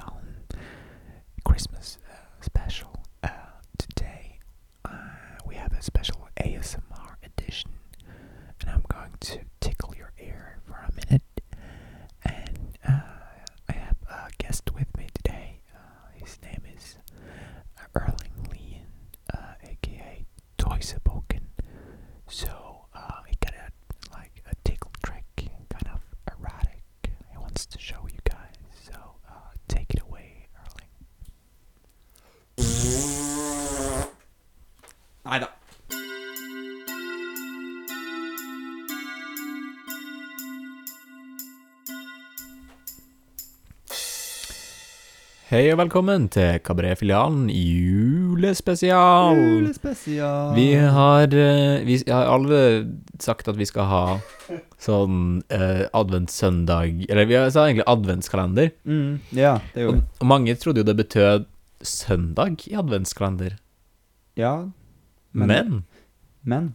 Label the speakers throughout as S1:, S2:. S1: uh, Christmas uh, special. Uh, today uh, we have a special ASMR edition, and I'm going to tickle your ear for a minute. And uh, I have a guest with me today. Uh, his name is Erling Lee, uh, aka Toysaboken. So uh, he got a like a tickle trick, kind of erotic. He wants to show you guys. So uh, take it away, Erling.
S2: Nei da.
S3: Hei og velkommen til Kabaret-filialen julespesial.
S2: Julespesial.
S3: Vi har, eh, vi har alle sagt at vi skal ha sånn eh, adventssøndag Eller vi har- sa egentlig adventskalender.
S2: mm, Ja, det gjorde
S3: Og,
S2: vi.
S3: og mange trodde jo det betød søndag i adventskalender.
S2: Ja, Men-
S3: Men
S2: men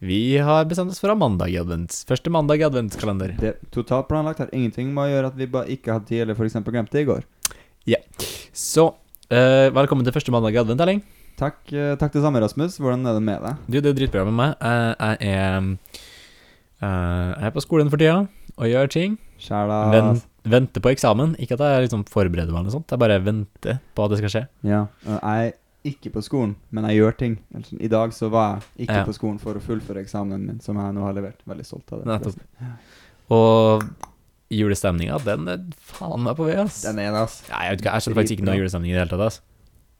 S3: vi har bestemt oss for å ha mandag i advents. Første mandag i adventskalender.
S2: det totalt planlagt har ingenting med å gjøre at vi bare ikke hadde tid, eller for eksempel glemte det i går.
S3: Så eh, velkommen til første mandag i advent, Erling.
S2: Takk, eh, takk det samme, Rasmus. Hvordan er det med deg?
S3: Du, det er dritbra med meg. Jeg, jeg er eh, Jeg er på skolen for tida og gjør ting.
S2: Sjæla
S3: Ven, venter på eksamen. Ikke at jeg liksom forbereder meg, eller noe sånt. Jeg bare venter på at det skal skje.
S2: Ja, eh, jeg er ikke på skolen, men jeg gjør ting. Altså, I dag så var jeg ikke
S3: Ja.
S2: på skolen for å fullføre eksamen min, som jeg nå har levert. Veldig stolt av det.
S3: Nettopp. Og julestemninga, den er faen meg på vei, ass.
S2: Den ene, ass.
S3: Nei, jeg vet ikke, jeg skjønner faktisk ikke noe
S2: Dritbra.
S3: julestemning i det hele tatt. ass.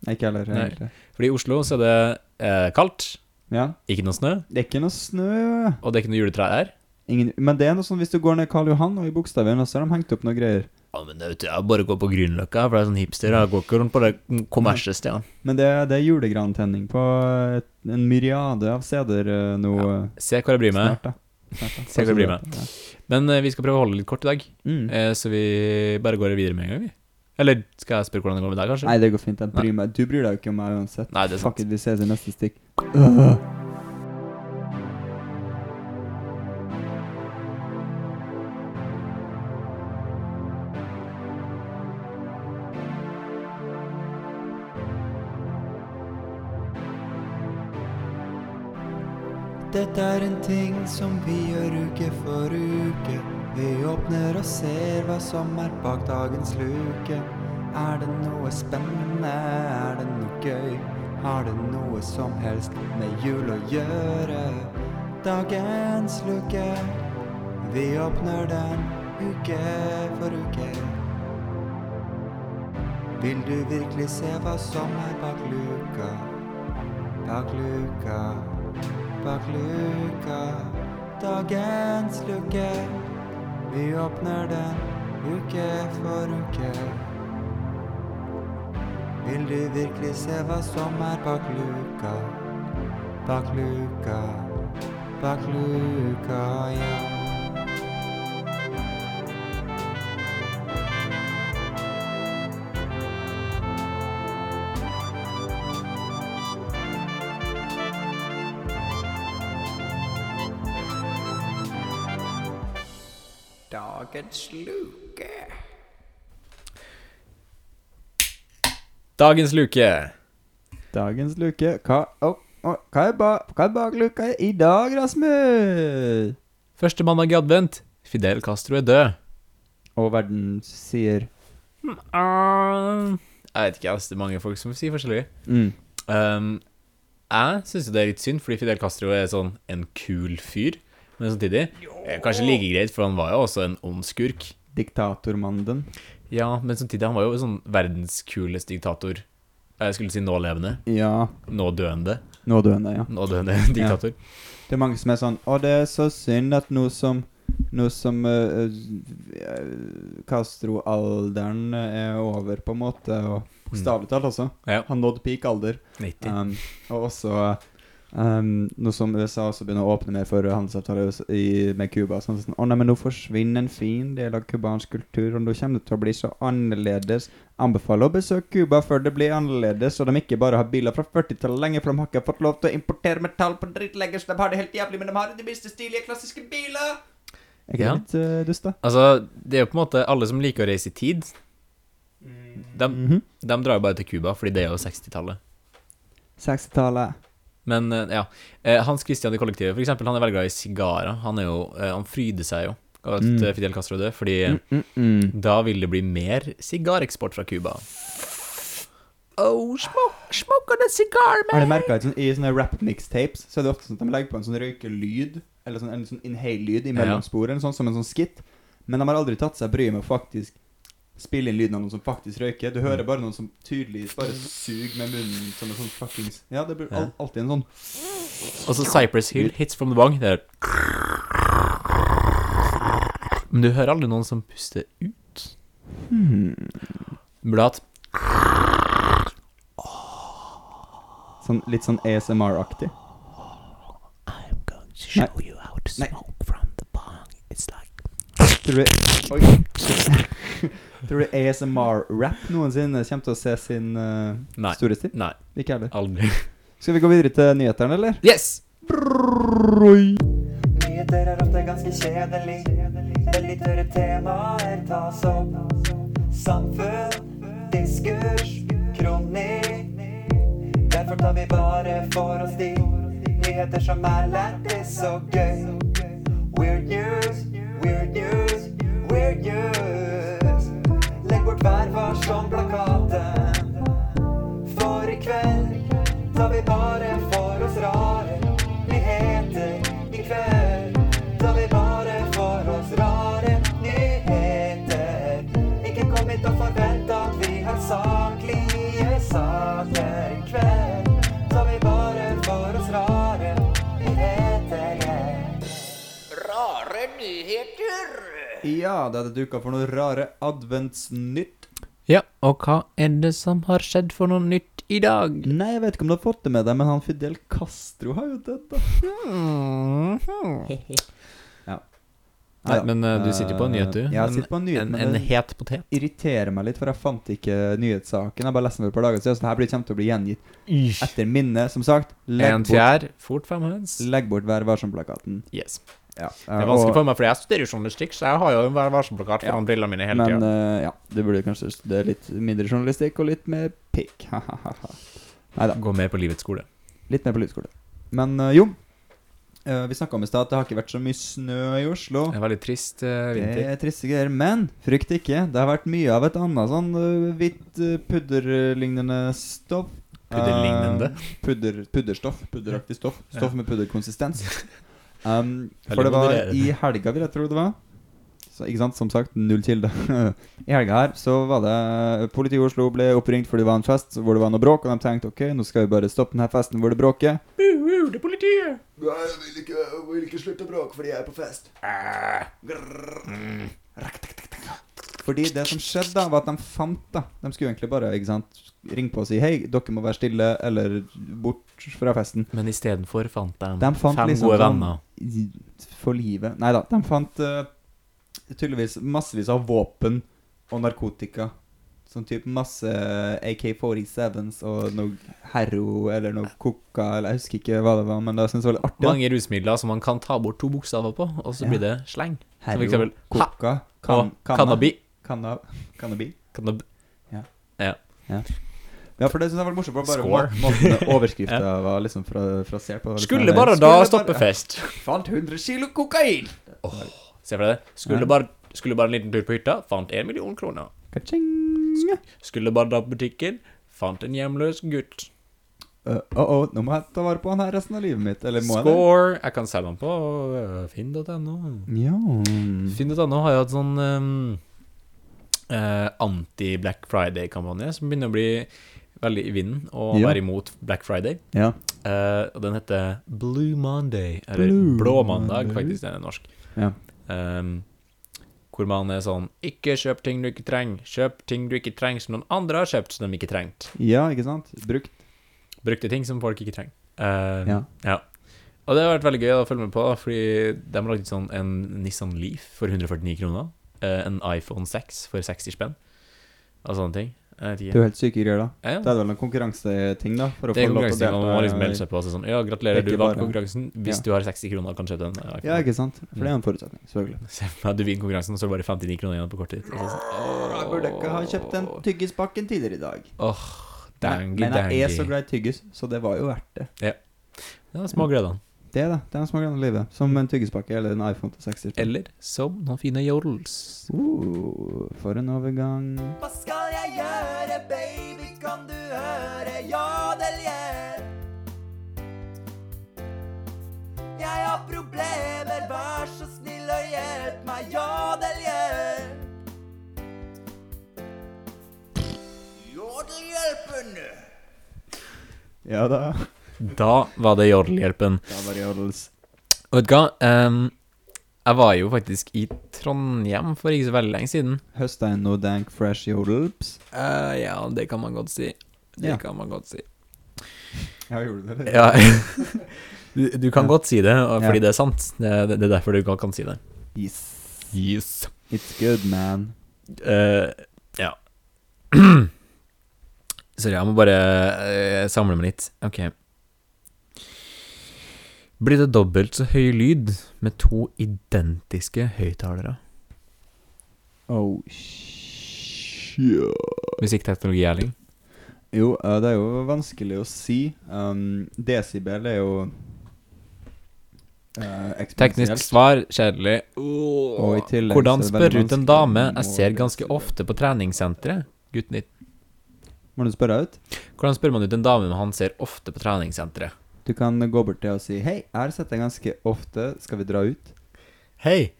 S2: Ikke heller,
S3: Nei.
S2: egentlig.
S3: Fordi i Oslo så er det eh, kaldt,
S2: Ja.
S3: ikke noe snø,
S2: Det er ikke noe snø.
S3: og det er ikke noe juletre her.
S2: Ingen, men det er noe sånn hvis du går ned Karl Johan og i Bogstadveien, så har de hengt opp noe greier.
S3: Ja, men det vet du, jeg bare går på Grünerløkka, for det er sånn hipster. Jeg går ikke rundt på de kommersielle stedene.
S2: Men det, det er julegrantenning på et, en myriade av steder eh, nå eh,
S3: Se hvor jeg bryr meg.
S2: snart, da. Snart, da.
S3: Se hva det blir med.
S2: Ja.
S3: Men eh, vi skal prøve å holde det litt kort i dag,
S2: Mm.
S3: eh, så vi bare går videre med en gang, vi. Eller skal jeg spørre hvordan det går med deg, kanskje?
S2: Nei, det går fint. Jeg bryr meg. Du bryr deg jo ikke om meg uansett.
S3: Nei, det er sant.
S2: Fuck it, vi ses i neste stikk. Øh.
S4: Dette er en ting som vi gjør uke for uke. Vi åpner og ser hva som er bak dagens luke. Er det noe spennende? Er det noe gøy? Har det noe som helst med jul å gjøre? Dagens luke, vi åpner den uke for uke. Vil du virkelig se hva som er bak luka? Bak luka. Bak luka, dagens luke. Vi åpner den uke for uke. Vil du virkelig se hva som er bak luka? Bak luka, bak luka, ja. Dagens luke.
S3: Dagens luke.
S2: Dagens luke Hva, Å, å, hva, er, ba, hva er bak luka i dag, Rasmus?
S3: Første mandag i advent. Fidel Castro er død.
S2: Og verden sier
S3: Jeg vet ikke, ass. Det er mange folk som sier forskjellig.
S2: mm.
S3: Um, jeg syns det er litt synd, fordi Fidel Castro er sånn en kul fyr. Men samtidig eh, kanskje like greit, for han var jo også en ond skurk.
S2: Diktatormannen.
S3: Ja, men samtidig, han var jo sånn verdens kuleste diktator. Jeg skulle si nå levende.
S2: Ja.
S3: Nå døende.
S2: Nådøende, ja.
S3: Nå døende diktator.
S2: Det er mange som er sånn Å, det er så synd at nå som Nå som eh, eh, Castro-alderen er over, på en måte, og bokstavelig talt også
S3: Ja.
S2: Han nådde peak alder.
S3: 90.
S2: Um, og også um, Nå som USA også begynner å åpne mer for handelsavtaler i- i- med Cuba sånn, sånn, Å nei, men nå forsvinner en fin del av cubansk kultur, og nå kommer det til å bli så annerledes. Anbefaler å besøke Cuba før det blir annerledes, så de ikke bare har biler fra 40-tallet lenger, for de har ikke fått lov til å importere metall på dritt lenger, så de har det helt jævlig, men de har de minste stilige, klassiske biler. Er ikke
S3: Ja.
S2: det litt eh, dust, da?
S3: Altså, det er jo på en måte alle som liker å reise i tid. De,
S2: Mhm.
S3: de drar jo bare til Cuba, fordi det er jo 60-tallet.
S2: 60-tallet.
S3: Men eh, ja. Eh, Hans Christian i kollektivet, for eksempel, han er veldig glad i sigarer. Han er jo eh, Han fryder seg jo av at
S2: Mm.
S3: eh, Fidel Castro døde, fordi
S2: Mm, mm, mm.
S3: da vil det bli mer sigareksport fra Cuba. Oh, smoke, smoke on a cigar,
S2: Har du merka at sånn, i sånne rap-mixtapes så er det ofte sånn at de legger på en sånn røykelyd, eller sånn, en sånn inhale-lyd i
S3: Ja.
S2: mellomsporet, sånn som en sånn skit, men de har aldri tatt seg bryet med å faktisk spille inn lyden av noen som faktisk røyker. Du
S3: Mm.
S2: hører bare noen som tydelig bare suger med munnen som en sånn fuckings Ja, det blir al alltid en sånn
S3: Og så Cypress Hill, Hits from the Bong. Det er Men du hører aldri noen som puster ut. Blat.
S2: Sånn, litt sånn ASMR-aktig.
S1: I'm going to show you how to
S2: Nei.
S1: smoke from the bong. It's like
S2: Tror du Oi. Tror du ASMR-rap noensinne kommer til å se sin eh,
S3: Nei.
S2: store stil?
S3: Nei,
S2: Ikke heller.
S3: aldri.
S2: Skal vi gå videre til nyhetene, eller?
S3: Yes!
S4: Nyheter er ofte ganske kjedelig. Veldig tørre temaer tas opp. Samfunn, diskurs, kronikk. Derfor tar vi bare for oss de nyheter som er lættis og gøy. Weird news, weird news, weird news. Legg bort hver vår som plakaten. For i kveld tar vi bare for oss rare nyheter. I kveld tar vi bare for oss rare nyheter. Ikke kom hit og forvent at vi har saklige saker. I kveld tar vi bare for oss rare nyheter. Rare nyheter.
S2: Ja, det hadde duka for noe rare adventsnytt.
S3: Ja, og hva er det som har skjedd for noe nytt i dag?
S2: Nei, jeg vet ikke om du har fått det med deg, men han Fidel Castro har jo dødd, da. ja.
S3: Mm-hmm. Nei, men eh, du sitter på en nyhet, du.
S2: Ja, jeg sitter på en nyhet,
S3: en,
S2: men
S3: en
S2: det
S3: het potet.
S2: irriterer meg litt, for jeg fant ikke nyhetssaken. Jeg bare leste den for et par dager siden, så det her blir kommer til å bli gjengitt etter minne, som sagt.
S3: En
S2: Legg bort,
S3: fjær, fort fem høns.
S2: legg bort Vær varsom-plakaten.
S3: Yes.
S2: Ja.
S3: Det er
S2: eh,
S3: vanskelig
S2: og-
S3: for meg, for jeg studerer jo journalistikk, så jeg har jo en Vær varsom-plakat foran brillene mine hele
S2: Men
S3: tida.
S2: eh, ja, du burde kanskje studere litt mindre journalistikk og litt mer pikk. Nei da.
S3: Gå med på livets skole.
S2: Litt mer på lydskole. Men eh, jo, eh, vi snakka om i stad at det har ikke vært så mye snø i Oslo.
S3: En veldig trist
S2: Det
S3: eh, vinter.
S2: er triste greier, men frykt ikke. Det har vært mye av et annet sånn eh, hvitt eh, pudderlignende stoff.
S3: Pudderlignende?
S2: Eh, pudder, pudderstoff. Pudderaktig stoff. Stoff med pudderkonsistens. Um,
S3: Jeg
S2: for det
S3: lurer på om
S2: var
S3: det er det.
S2: i helga, vil jeg tro det var. Så, ikke sant, Som sagt, null kilde. I helga her så var det eh, Politiet i Oslo ble oppringt fordi det var en fest hvor det var noe bråk, og de tenkte ok, nå skal vi bare stoppe denne festen hvor det bråker.
S3: Uhuh, det er politiet!
S5: Nei, jeg vil ikke, jeg vil ikke slutte å bråke fordi jeg er på fest.
S2: Fordi det som skjedde da, var at de fant da De skulle egentlig bare ikke sant, ringe på og si Hei, dere må være stille eller bort fra festen
S3: Men istedenfor fant de,
S2: De fant
S3: fem
S2: liksom
S3: gode
S2: sånn-
S3: venner.
S2: I- For livet Neida, de fant eh, tydeligvis massevis av våpen og narkotika Sånn type masse AK-47s og noe herro eller noe koka Eller jeg husker ikke hva det var, men det synes jeg var veldig artig da.
S3: Mange rusmidler som man kan ta bort to bokstaver på, og så
S2: Ja.
S3: blir det sleng. Som for
S2: Herro,
S3: eksempel ha
S2: koka,
S3: og
S2: kan, kanna-
S3: cannabi.
S2: kanna- Kannabi
S3: Cannab
S2: Ja, for det synes jeg var morsomt. for Bare
S3: Score.
S2: må- måten overskrifta var liksom fra, frasert på. var liksom-
S3: Skulle bare da
S2: Skulle
S3: stoppe
S2: bare-
S3: fest.
S2: Fant 100 kilo kokain!
S3: Se for deg det.
S2: Ja.
S3: Skulle bare, skulle bare en liten tur på hytta, fant en million kroner.
S2: Kaching!
S3: Skulle bare dra på butikken, fant en hjemløs gutt.
S2: Uh, oh, oh, nå må jeg ta vare på han her resten av livet mitt. Eller må jeg
S3: Score. Jeg kan selge den på øh, finn.no.
S2: det? Ja.
S3: Finn.no har jo hatt sånn ehm, eh, anti-Black Friday-kampanje som begynner å bli veldig i vinden og
S2: Ja.
S3: være imot Black Friday.
S2: ja.
S3: Eh, og den heter Blue Monday, eller
S2: Blue
S3: Blå mandag,
S2: Monday.
S3: faktisk, den er norsk.
S2: Ja.
S3: Ehm, hvor man er sånn Ikke kjøp ting du ikke trenger. Kjøp ting du ikke trenger som noen andre har kjøpt som de ikke trengte.
S2: Ja, ikke sant? Brukt.
S3: Brukte ting som folk ikke trenger. Ehm,
S2: Ja.
S3: Og det har vært veldig gøy å følge med på, da, fordi de har lagd sånn en Nissan Leaf for 149 kroner. eh, en iPhone 6 for 60 spenn, og sånne ting. Eh, Jeg vet
S2: Det er jo
S3: ikke.
S2: helt syke greier, da.
S3: Ja,
S2: Det er vel en konkurranseting, da? For å
S3: det er
S2: få lov til å
S3: konkurransen. Man må liksom
S2: delta.
S3: melde seg på. Så sånn, ja, gratulerer,
S2: Det er
S3: du
S2: ikke
S3: vant
S2: bare-
S3: konkurransen. Hvis
S2: Ja.
S3: du har 60 kroner, kan du kjøpe en iPhone.
S2: eh, Ja, ikke sant? For det er jo en forutsetning, selvfølgelig.
S3: Se for deg at du vinner konkurransen, og så er det bare 59 kroner igjen på kortet ditt. Og så sånn,
S2: Jeg burde ikke ha kjøpt den tyggispakken tidligere i dag.
S3: Åh,
S2: Men,
S3: dangy,
S2: men jeg er
S3: dangy.
S2: så glad i tyggis, så det var jo verdt det.
S3: Ja, små gleder.
S2: Det er det. Det er en smak av livet. Som en tyggispakke eller en iPhone til 60. spenn.
S3: Eller som noen fine jodels.
S2: Uh, for en overgang.
S4: Hva skal jeg gjøre, baby, kan du høre jodeljer? Jeg har problemer, vær så snill og hjelp meg, jodeljer. Jodelhjelpen!
S2: Ja da.
S3: Da var det jodelhjelpen.
S2: Da var det jodels.
S3: Og vet du hva? Ehm, jeg var jo faktisk i Trondheim for ikke så veldig lenge siden.
S2: Høsta jeg noe dank fresh jodels?
S3: Eh, ja, det kan man godt si. Det
S2: Ja.
S3: kan man godt si.
S2: Ja, gjorde du det?
S3: Ja. Du, du kan
S2: Ja.
S3: godt si det, og-
S2: Ja.
S3: fordi det er sant. Det, det, det er derfor du kan, kan si det.
S2: Yes.
S3: Yes.
S2: It's good, man.
S3: Eh, ja. Sorry, jeg må bare eh, samle meg litt. Ok. Blir det dobbelt så høy lyd med to identiske høyttalere?
S2: Oh, shit.
S3: Musikkteknologi-Erling?
S2: Jo, eh, det er jo vanskelig å si. Um, desibel er jo eh,
S3: Teknisk
S2: eksponentielt.
S3: svar kjedelig. Åh.
S2: Og i tillegg
S3: Hvordan
S2: så er det
S3: spørre
S2: veldig
S3: ut en
S2: vanskelig
S3: dame
S2: å
S3: jeg ser
S2: måle
S3: ganske
S2: desibel.
S3: ofte på treningssenteret? Gutten din.
S2: Må du spørre ut?
S3: Hvordan spør man ut en dame han ser ofte på treningssenteret?
S2: Du kan gå bort til og si Hei, jeg har sett deg ganske ofte. Skal vi dra ut?
S3: Hei,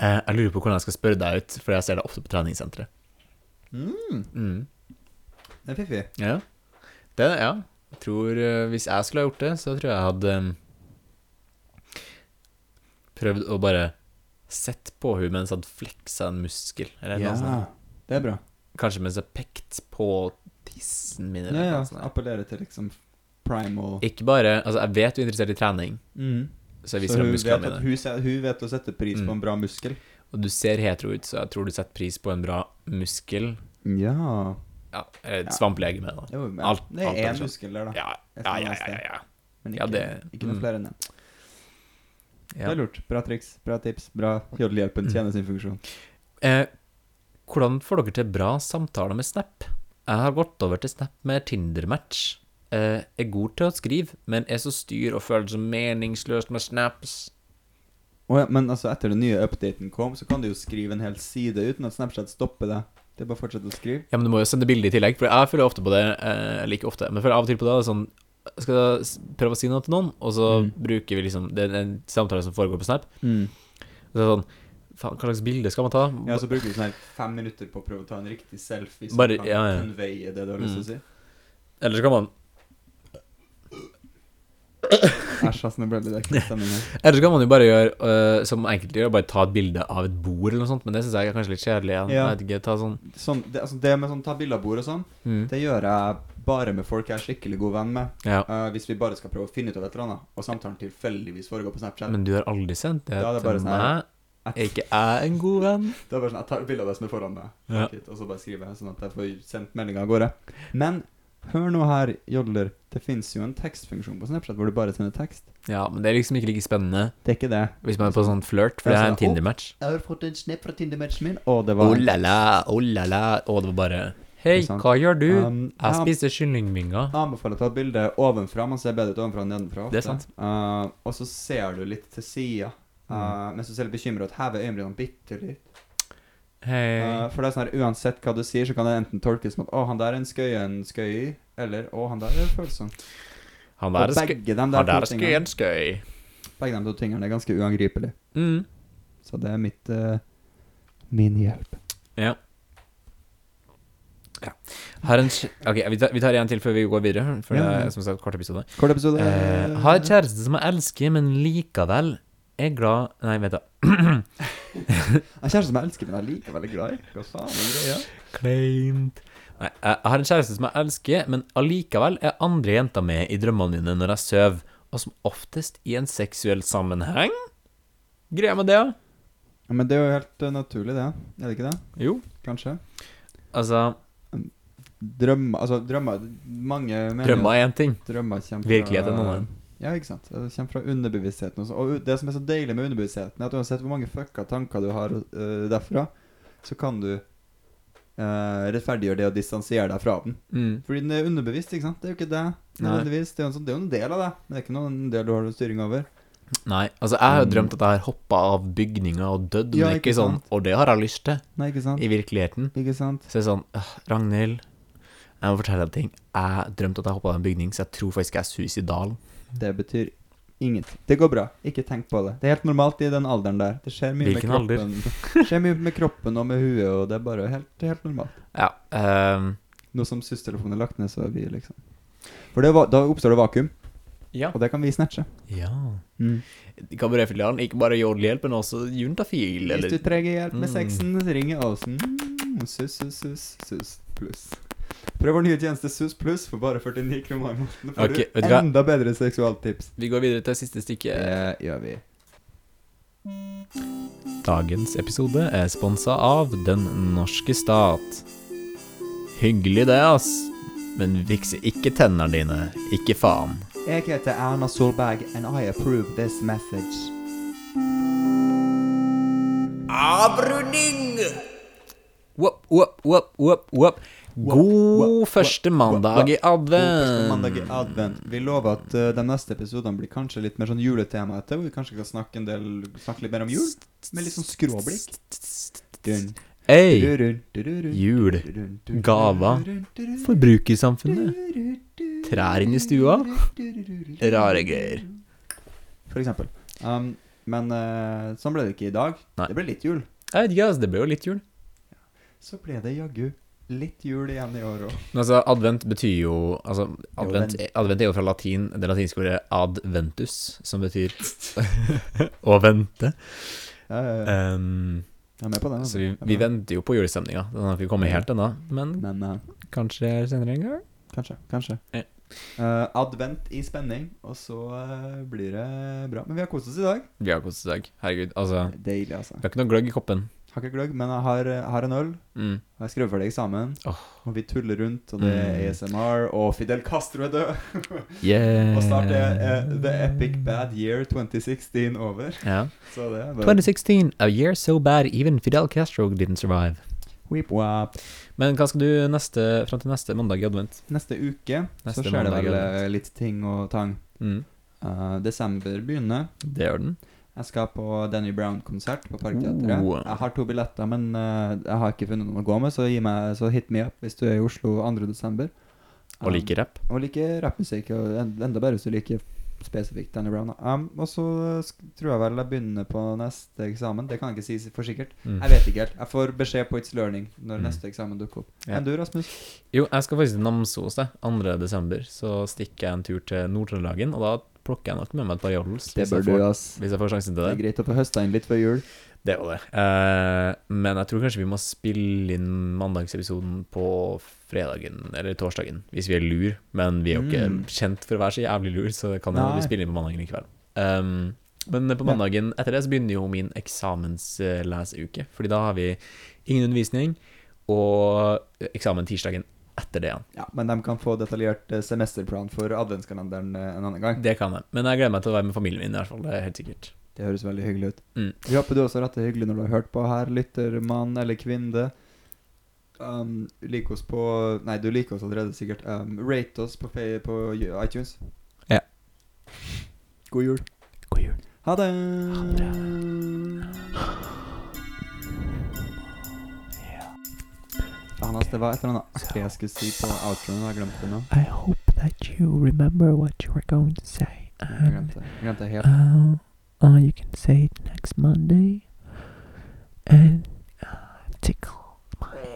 S3: eh, jeg lurer på hvordan jeg skal spørre deg ut, for jeg ser deg ofte på treningssenteret. Mm.
S2: Det er fiffig.
S3: Ja. Det, ja. Jeg tror eh, Hvis jeg skulle ha gjort det, så tror jeg jeg hadde em, prøvd å bare sett på henne mens jeg hadde fleksa en muskel. Eller noe sånn.
S2: Ja,
S3: sånt.
S2: det er bra.
S3: Kanskje mens jeg pekte på tissen min.
S2: Ja,
S3: Eller
S2: ja.
S3: noe sånn sånt.
S2: Appellere til liksom primal
S3: Ikke bare Altså, jeg vet du er interessert i trening,
S2: mm.
S3: så jeg
S2: Så
S3: viser
S2: hun
S3: deg
S2: vet,
S3: musklene
S2: at
S3: mine.
S2: hun, se- hun vet å sette pris
S3: Mm.
S2: på en bra muskel.
S3: Og du ser hetero ut, så jeg tror du setter pris på en bra muskel.
S2: Ja
S3: Ja, eller
S2: Ja.
S3: et svampelegeme, da.
S2: jo, men,
S3: Alt-
S2: Det
S3: alt
S2: er
S3: er
S2: én
S3: sånn.
S2: muskel der, da.
S3: Ja,
S2: Et
S3: ja,
S2: eller
S3: ja.
S2: annet
S3: ja,
S2: sted.
S3: ja,
S2: Men ikke,
S3: Ja, det-
S2: ikke noe
S3: mm.
S2: flere enn det.
S3: ja.
S2: Det er lurt. Bra triks, bra tips. Bra jodelhjelpen
S3: Mm.
S2: tjener sin funksjon.
S3: Eh, hvordan får dere til bra samtaler med Snap? Jeg har gått over til Snap med Tinder-match. Eh, er god til å skrive, men er så styr og føler det som meningsløst med snaps.
S2: Å ja, men altså etter den nye updaten kom, så kan du jo skrive en hel side uten at Snapchat stopper deg. Det er bare å fortsette å skrive.
S3: Ja, men du må jo sende bilde i tillegg, for jeg føler ofte på det, eh, like ofte, men jeg føler av og til på det, det er sånn, jeg skal s- prøve å si noe til noen, og så
S2: Mm.
S3: bruker vi liksom, det er en samtale som foregår på Snap, og så er det sånn, faen, hva slags bilde skal man ta?
S2: Ja, så bruker du sånn her fem minutter på å prøve å ta en riktig selfie som
S3: Bare-
S2: kan
S3: ja, ja.
S2: conveye det du har lyst til å si.
S3: Eller så kan man, Mm.
S2: Æsj, ass, nå ble det ekkel stemning her.
S3: eller så kan man jo bare gjøre, eh, som enkelte gjør, bare ta et bilde av et bord eller noe sånt, men det synes jeg er kanskje litt kjedelig, ja.
S2: Ja.
S3: jeg vet ikke, ta sånn,
S2: Sånn, det, altså, det med sånn ta bilde av bord og sånn,
S3: mm.
S2: det gjør jeg bare med folk jeg er skikkelig god venn med.
S3: Ja,
S2: Eh, hvis vi bare skal prøve å finne ut av et eller annet, og samtalen tilfeldigvis foregår på Snapchat.
S3: men du har aldri sendt det,
S2: Ja, det er bare
S3: til
S2: sånn
S3: meg.
S2: her.
S3: Er ikke jeg en god venn?
S2: Det er bare sånn, Jeg tar bilde av det som er foran meg,
S3: Ja.
S2: Shit, og så bare skriver jeg, sånn at jeg får sendt meldinga av gårde. Men hør nå her, jodler. Det fins jo en tekstfunksjon på Snapchat hvor du bare sender tekst.
S3: Ja, men det er liksom ikke like spennende
S2: Det er ikke det.
S3: hvis man er på sånn flørt, for det er en Tinder-match.
S2: Jeg har fått en snap fra Tinder-matchen min, og det
S3: Oh
S2: var
S3: la la, oh la la, og det var bare
S2: Det
S3: Hei,
S2: er sant.
S3: hva gjør du?
S2: Um,
S3: Jeg
S2: ja.
S3: spiser kyllingvinger.
S2: Jeg anbefaler å ta bilde ovenfra. Man ser bedre ut ovenfra enn nedenfra.
S3: Det er sant.
S2: Eh, og så ser du litt til sida.
S3: Mm.
S2: mens du ser litt bekymra ut, hever øyenbrynene bitte litt.
S3: Hei.
S2: Eh, for det er sånn her, uansett hva du sier, så kan det enten tolkes som at 'Å, han der er en skøyen skøy', eller 'Å, han der er følsom'.
S3: Han
S2: Og
S3: der er skøy.
S2: begge dem der,
S3: Han der
S2: to
S3: er skøy,
S2: tingene,
S3: en skøy.
S2: begge dem to tingene er ganske uangripelige.
S3: Mm.
S2: Så det er mitt eh, Min hjelp.
S3: Ja. ja. Har en kj- Ok, vi tar, vi tar en til før vi går videre, for det
S2: Ja, ja.
S3: er som sagt kort episode.
S2: Kort episode.
S3: Eh, har kjæreste som jeg elsker, men likevel er glad Nei, vent, da.
S2: Jeg har kjæreste som jeg elsker, men jeg er like veldig glad i. Hva faen er greia?
S3: Kleint. Nei, jeg har en kjæreste som jeg elsker, men allikevel er andre jenter med i drømmene mine når jeg sover, og som oftest i en seksuell sammenheng. Greia med det, ja.
S2: Ja, men det er jo helt eh, naturlig, det. Er det ikke det?
S3: Jo.
S2: Kanskje?
S3: Altså
S2: drømmer Altså, drømmer Mange mener
S3: Drømmer er én ting,
S2: Drømmer kommer fra-
S3: virkelighet er en annen.
S2: Ja, ikke sant. Det kommer fra underbevisstheten. Også. Og det som er så deilig med underbevisstheten, er at uansett hvor mange fucka tanker du har øh, derfra, så kan du øh, rettferdiggjøre det og distansere deg fra den.
S3: Mm.
S2: Fordi den er underbevisst, ikke sant. Det er jo ikke deg.
S3: Nei.
S2: nødvendigvis. Det er jo en, sånn, det er jo en del av deg, men det er ikke noen del du har styring over.
S3: Nei, altså jeg har jo
S2: Mm.
S3: drømt at jeg har hoppa av bygninger og dødd, men
S2: Ja,
S3: det er
S2: ikke
S3: ikke sånn
S2: sant.
S3: Og det har jeg lyst til,
S2: Nei, ikke sant.
S3: i virkeligheten.
S2: Ikke sant.
S3: Så det er sånn «Åh, Ragnhild, jeg må fortelle deg en ting. Jeg drømte at jeg hoppa av en bygning, så jeg tror faktisk jeg er suicidal.
S2: Det betyr ingenting. Det går bra. Ikke tenk på det. Det er helt normalt i den alderen der. Det skjer mye
S3: Hvilken
S2: med
S3: alder?
S2: kroppen. Det skjer mye med kroppen og med huet, og det er bare helt, helt normalt.
S3: Ja. ehm,
S2: Nå som SUS-telefonen er lagt ned, så er vi liksom For det, va- da oppstår det vakuum,
S3: ja.
S2: og det kan vi snatche.
S3: ja. Mm. Kabaretfilialen, ikke bare jodlhjelp, men også juntafil,
S2: Hvis du
S3: eller
S2: trenger hjelp med
S3: Mm.
S2: sexen, ring oss. Mm, SUS, SUS, SUS, SUS pluss. Prøv vår nye tjeneste SUS pluss for bare 49 kroner i måneden. Får
S3: Ok, vet du
S2: du
S3: hva?
S2: enda bedre seksualtips.
S3: Vi går videre til siste stykke.
S2: Det gjør vi.
S3: Dagens episode er sponsa av Den norske stat. Hyggelig det, ass. Men viks ikke tennene dine. Ikke faen.
S2: Jeg heter Erna Solberg, and I approve this message.
S3: Abruding! Wop, wop, wop, wop, wop. God
S2: wop,
S3: første
S2: wop,
S3: mandag i
S2: Første mandag i
S3: advent.
S2: advent. Vi lover at eh, de neste episodene blir kanskje litt mer sånn juletema etter, hvor vi kanskje kan snakke en del Snakke litt mer om jul, med litt sånn skråblikk. Dun,
S3: Ei,
S2: durun, dururun,
S3: jul.
S2: durun, durun,
S3: Gaver.
S2: durun, durun,
S3: Forbrukersamfunnet.
S2: durun, durun,
S3: Trær inn i stua.
S2: durun, durun,
S3: Rare greier.
S2: For eksempel. Um, men eh, sånn ble det ikke i dag.
S3: Nei.
S2: Det ble litt jul.
S3: Jeg vet ikke, ass. Det ble jo litt jul.
S2: Så ble det jaggu litt jul igjen i år òg.
S3: Men altså, advent betyr jo Altså, advent,
S2: vent.
S3: advent er jo fra latin, det latinske ordet adventus, som betyr å vente.
S2: Jeg
S3: Ehm,
S2: er med på den. altså.
S3: så vi,
S2: Jeg er
S3: vi
S2: med.
S3: venter jo på julestemninga. sånn Den har ikke kommet helt ennå, men
S2: Men eh,
S3: kanskje senere en gang.
S2: Kanskje. kanskje
S3: Ja.
S2: Eh, Advent i spenning, og så eh, blir det bra. Men vi har kost oss i dag.
S3: Vi har kost oss i dag. Herregud, altså.
S2: Deilig, altså.
S3: Vi har ikke noe gløgg i koppen.
S2: Har ikke gløgg, men jeg har, jeg har en øl.
S3: Mm.
S2: Jeg har skrevet ferdig eksamen.
S3: Åh.
S2: Og vi tuller rundt, og det er
S3: Mm.
S2: ASMR, og Fidel Castro er død.
S3: Yeah.
S2: og snart er eh, The Epic Bad Year 2016 over.
S3: Ja.
S2: Så det er bare
S3: 2016, a year so bad even Fidel Castro didn't survive.
S2: Weep wap.
S3: Men hva skal du neste, fram til neste mandag i advent?
S2: Neste uke
S3: Neste
S2: så skjer det
S3: mandag,
S2: vel
S3: Advent.
S2: eh, litt ting og tang.
S3: Mm.
S2: Eh, desember begynner.
S3: Det gjør den.
S2: Jeg skal på Danny Brown-konsert på Parkteatret.
S3: Oh.
S2: Jeg har to billetter, men eh, jeg har ikke funnet noen å gå med, så, gi meg, så hit me up hvis du er i Oslo 2. desember. Um,
S3: Og liker rapp.
S2: Og liker rappmusikk, og en- enda bedre hvis du liker spesifikt Danny Brown. da. Um, og så sk- tror jeg vel jeg begynner på neste eksamen. Det kan jeg ikke si for sikkert.
S3: Mm.
S2: Jeg vet ikke helt. Jeg får beskjed på It's Learning når
S3: Mm.
S2: neste eksamen dukker opp.
S3: Ja.
S2: Enn du, Rasmus?
S3: Jo, jeg skal faktisk til Namsos jeg. 2. desember. Så stikker jeg en tur til Nord-Trøndelagen, og da plukker jeg nok med meg et par jodels. hvis jeg får-
S2: ass.
S3: Hvis jeg får sjansen til
S2: Det er
S3: det.
S2: greit å få høsta inn litt før jul.
S3: Det var det. Eh, men jeg tror kanskje vi må spille inn mandagsepisoden på fredagen eller torsdagen, hvis vi er lur. Men vi er jo ikke
S2: Mm.
S3: kjent for å være så jævlig lur, så det kan hende
S2: Nei.
S3: vi spiller inn på mandagen i kveld. Um, men på
S2: Ja.
S3: mandagen etter det så begynner jo min eksamenslesuke, Fordi da har vi ingen undervisning, og eksamen tirsdagen etter det igjen.
S2: Ja, men de kan få detaljert eh, semesterplan for adventskalenderen eh, en annen gang.
S3: Det kan jeg. Men jeg gleder meg til å være med familien min, i hvert fall. Det er helt sikkert.
S2: Det høres veldig hyggelig ut.
S3: Mm.
S2: Vi håper du også har hatt det hyggelig når du har hørt på her, lytter, mann eller kvinne. Um, lik oss på Nei, du liker oss allerede, sikkert. Um, rate oss på, fe- på iTunes.
S3: Ja.
S2: God jul.
S1: God jul.
S2: Ha det! Faen, ass, det var et eller annet artig jeg skulle si på outroen. og Jeg glemte det nå.
S1: I hope that you remember what you were going to say.
S2: Jeg
S1: And
S2: glemte det, jeg glemte det helt.
S1: uh, uh, you can say it next Monday. And uh, tickle my Uh,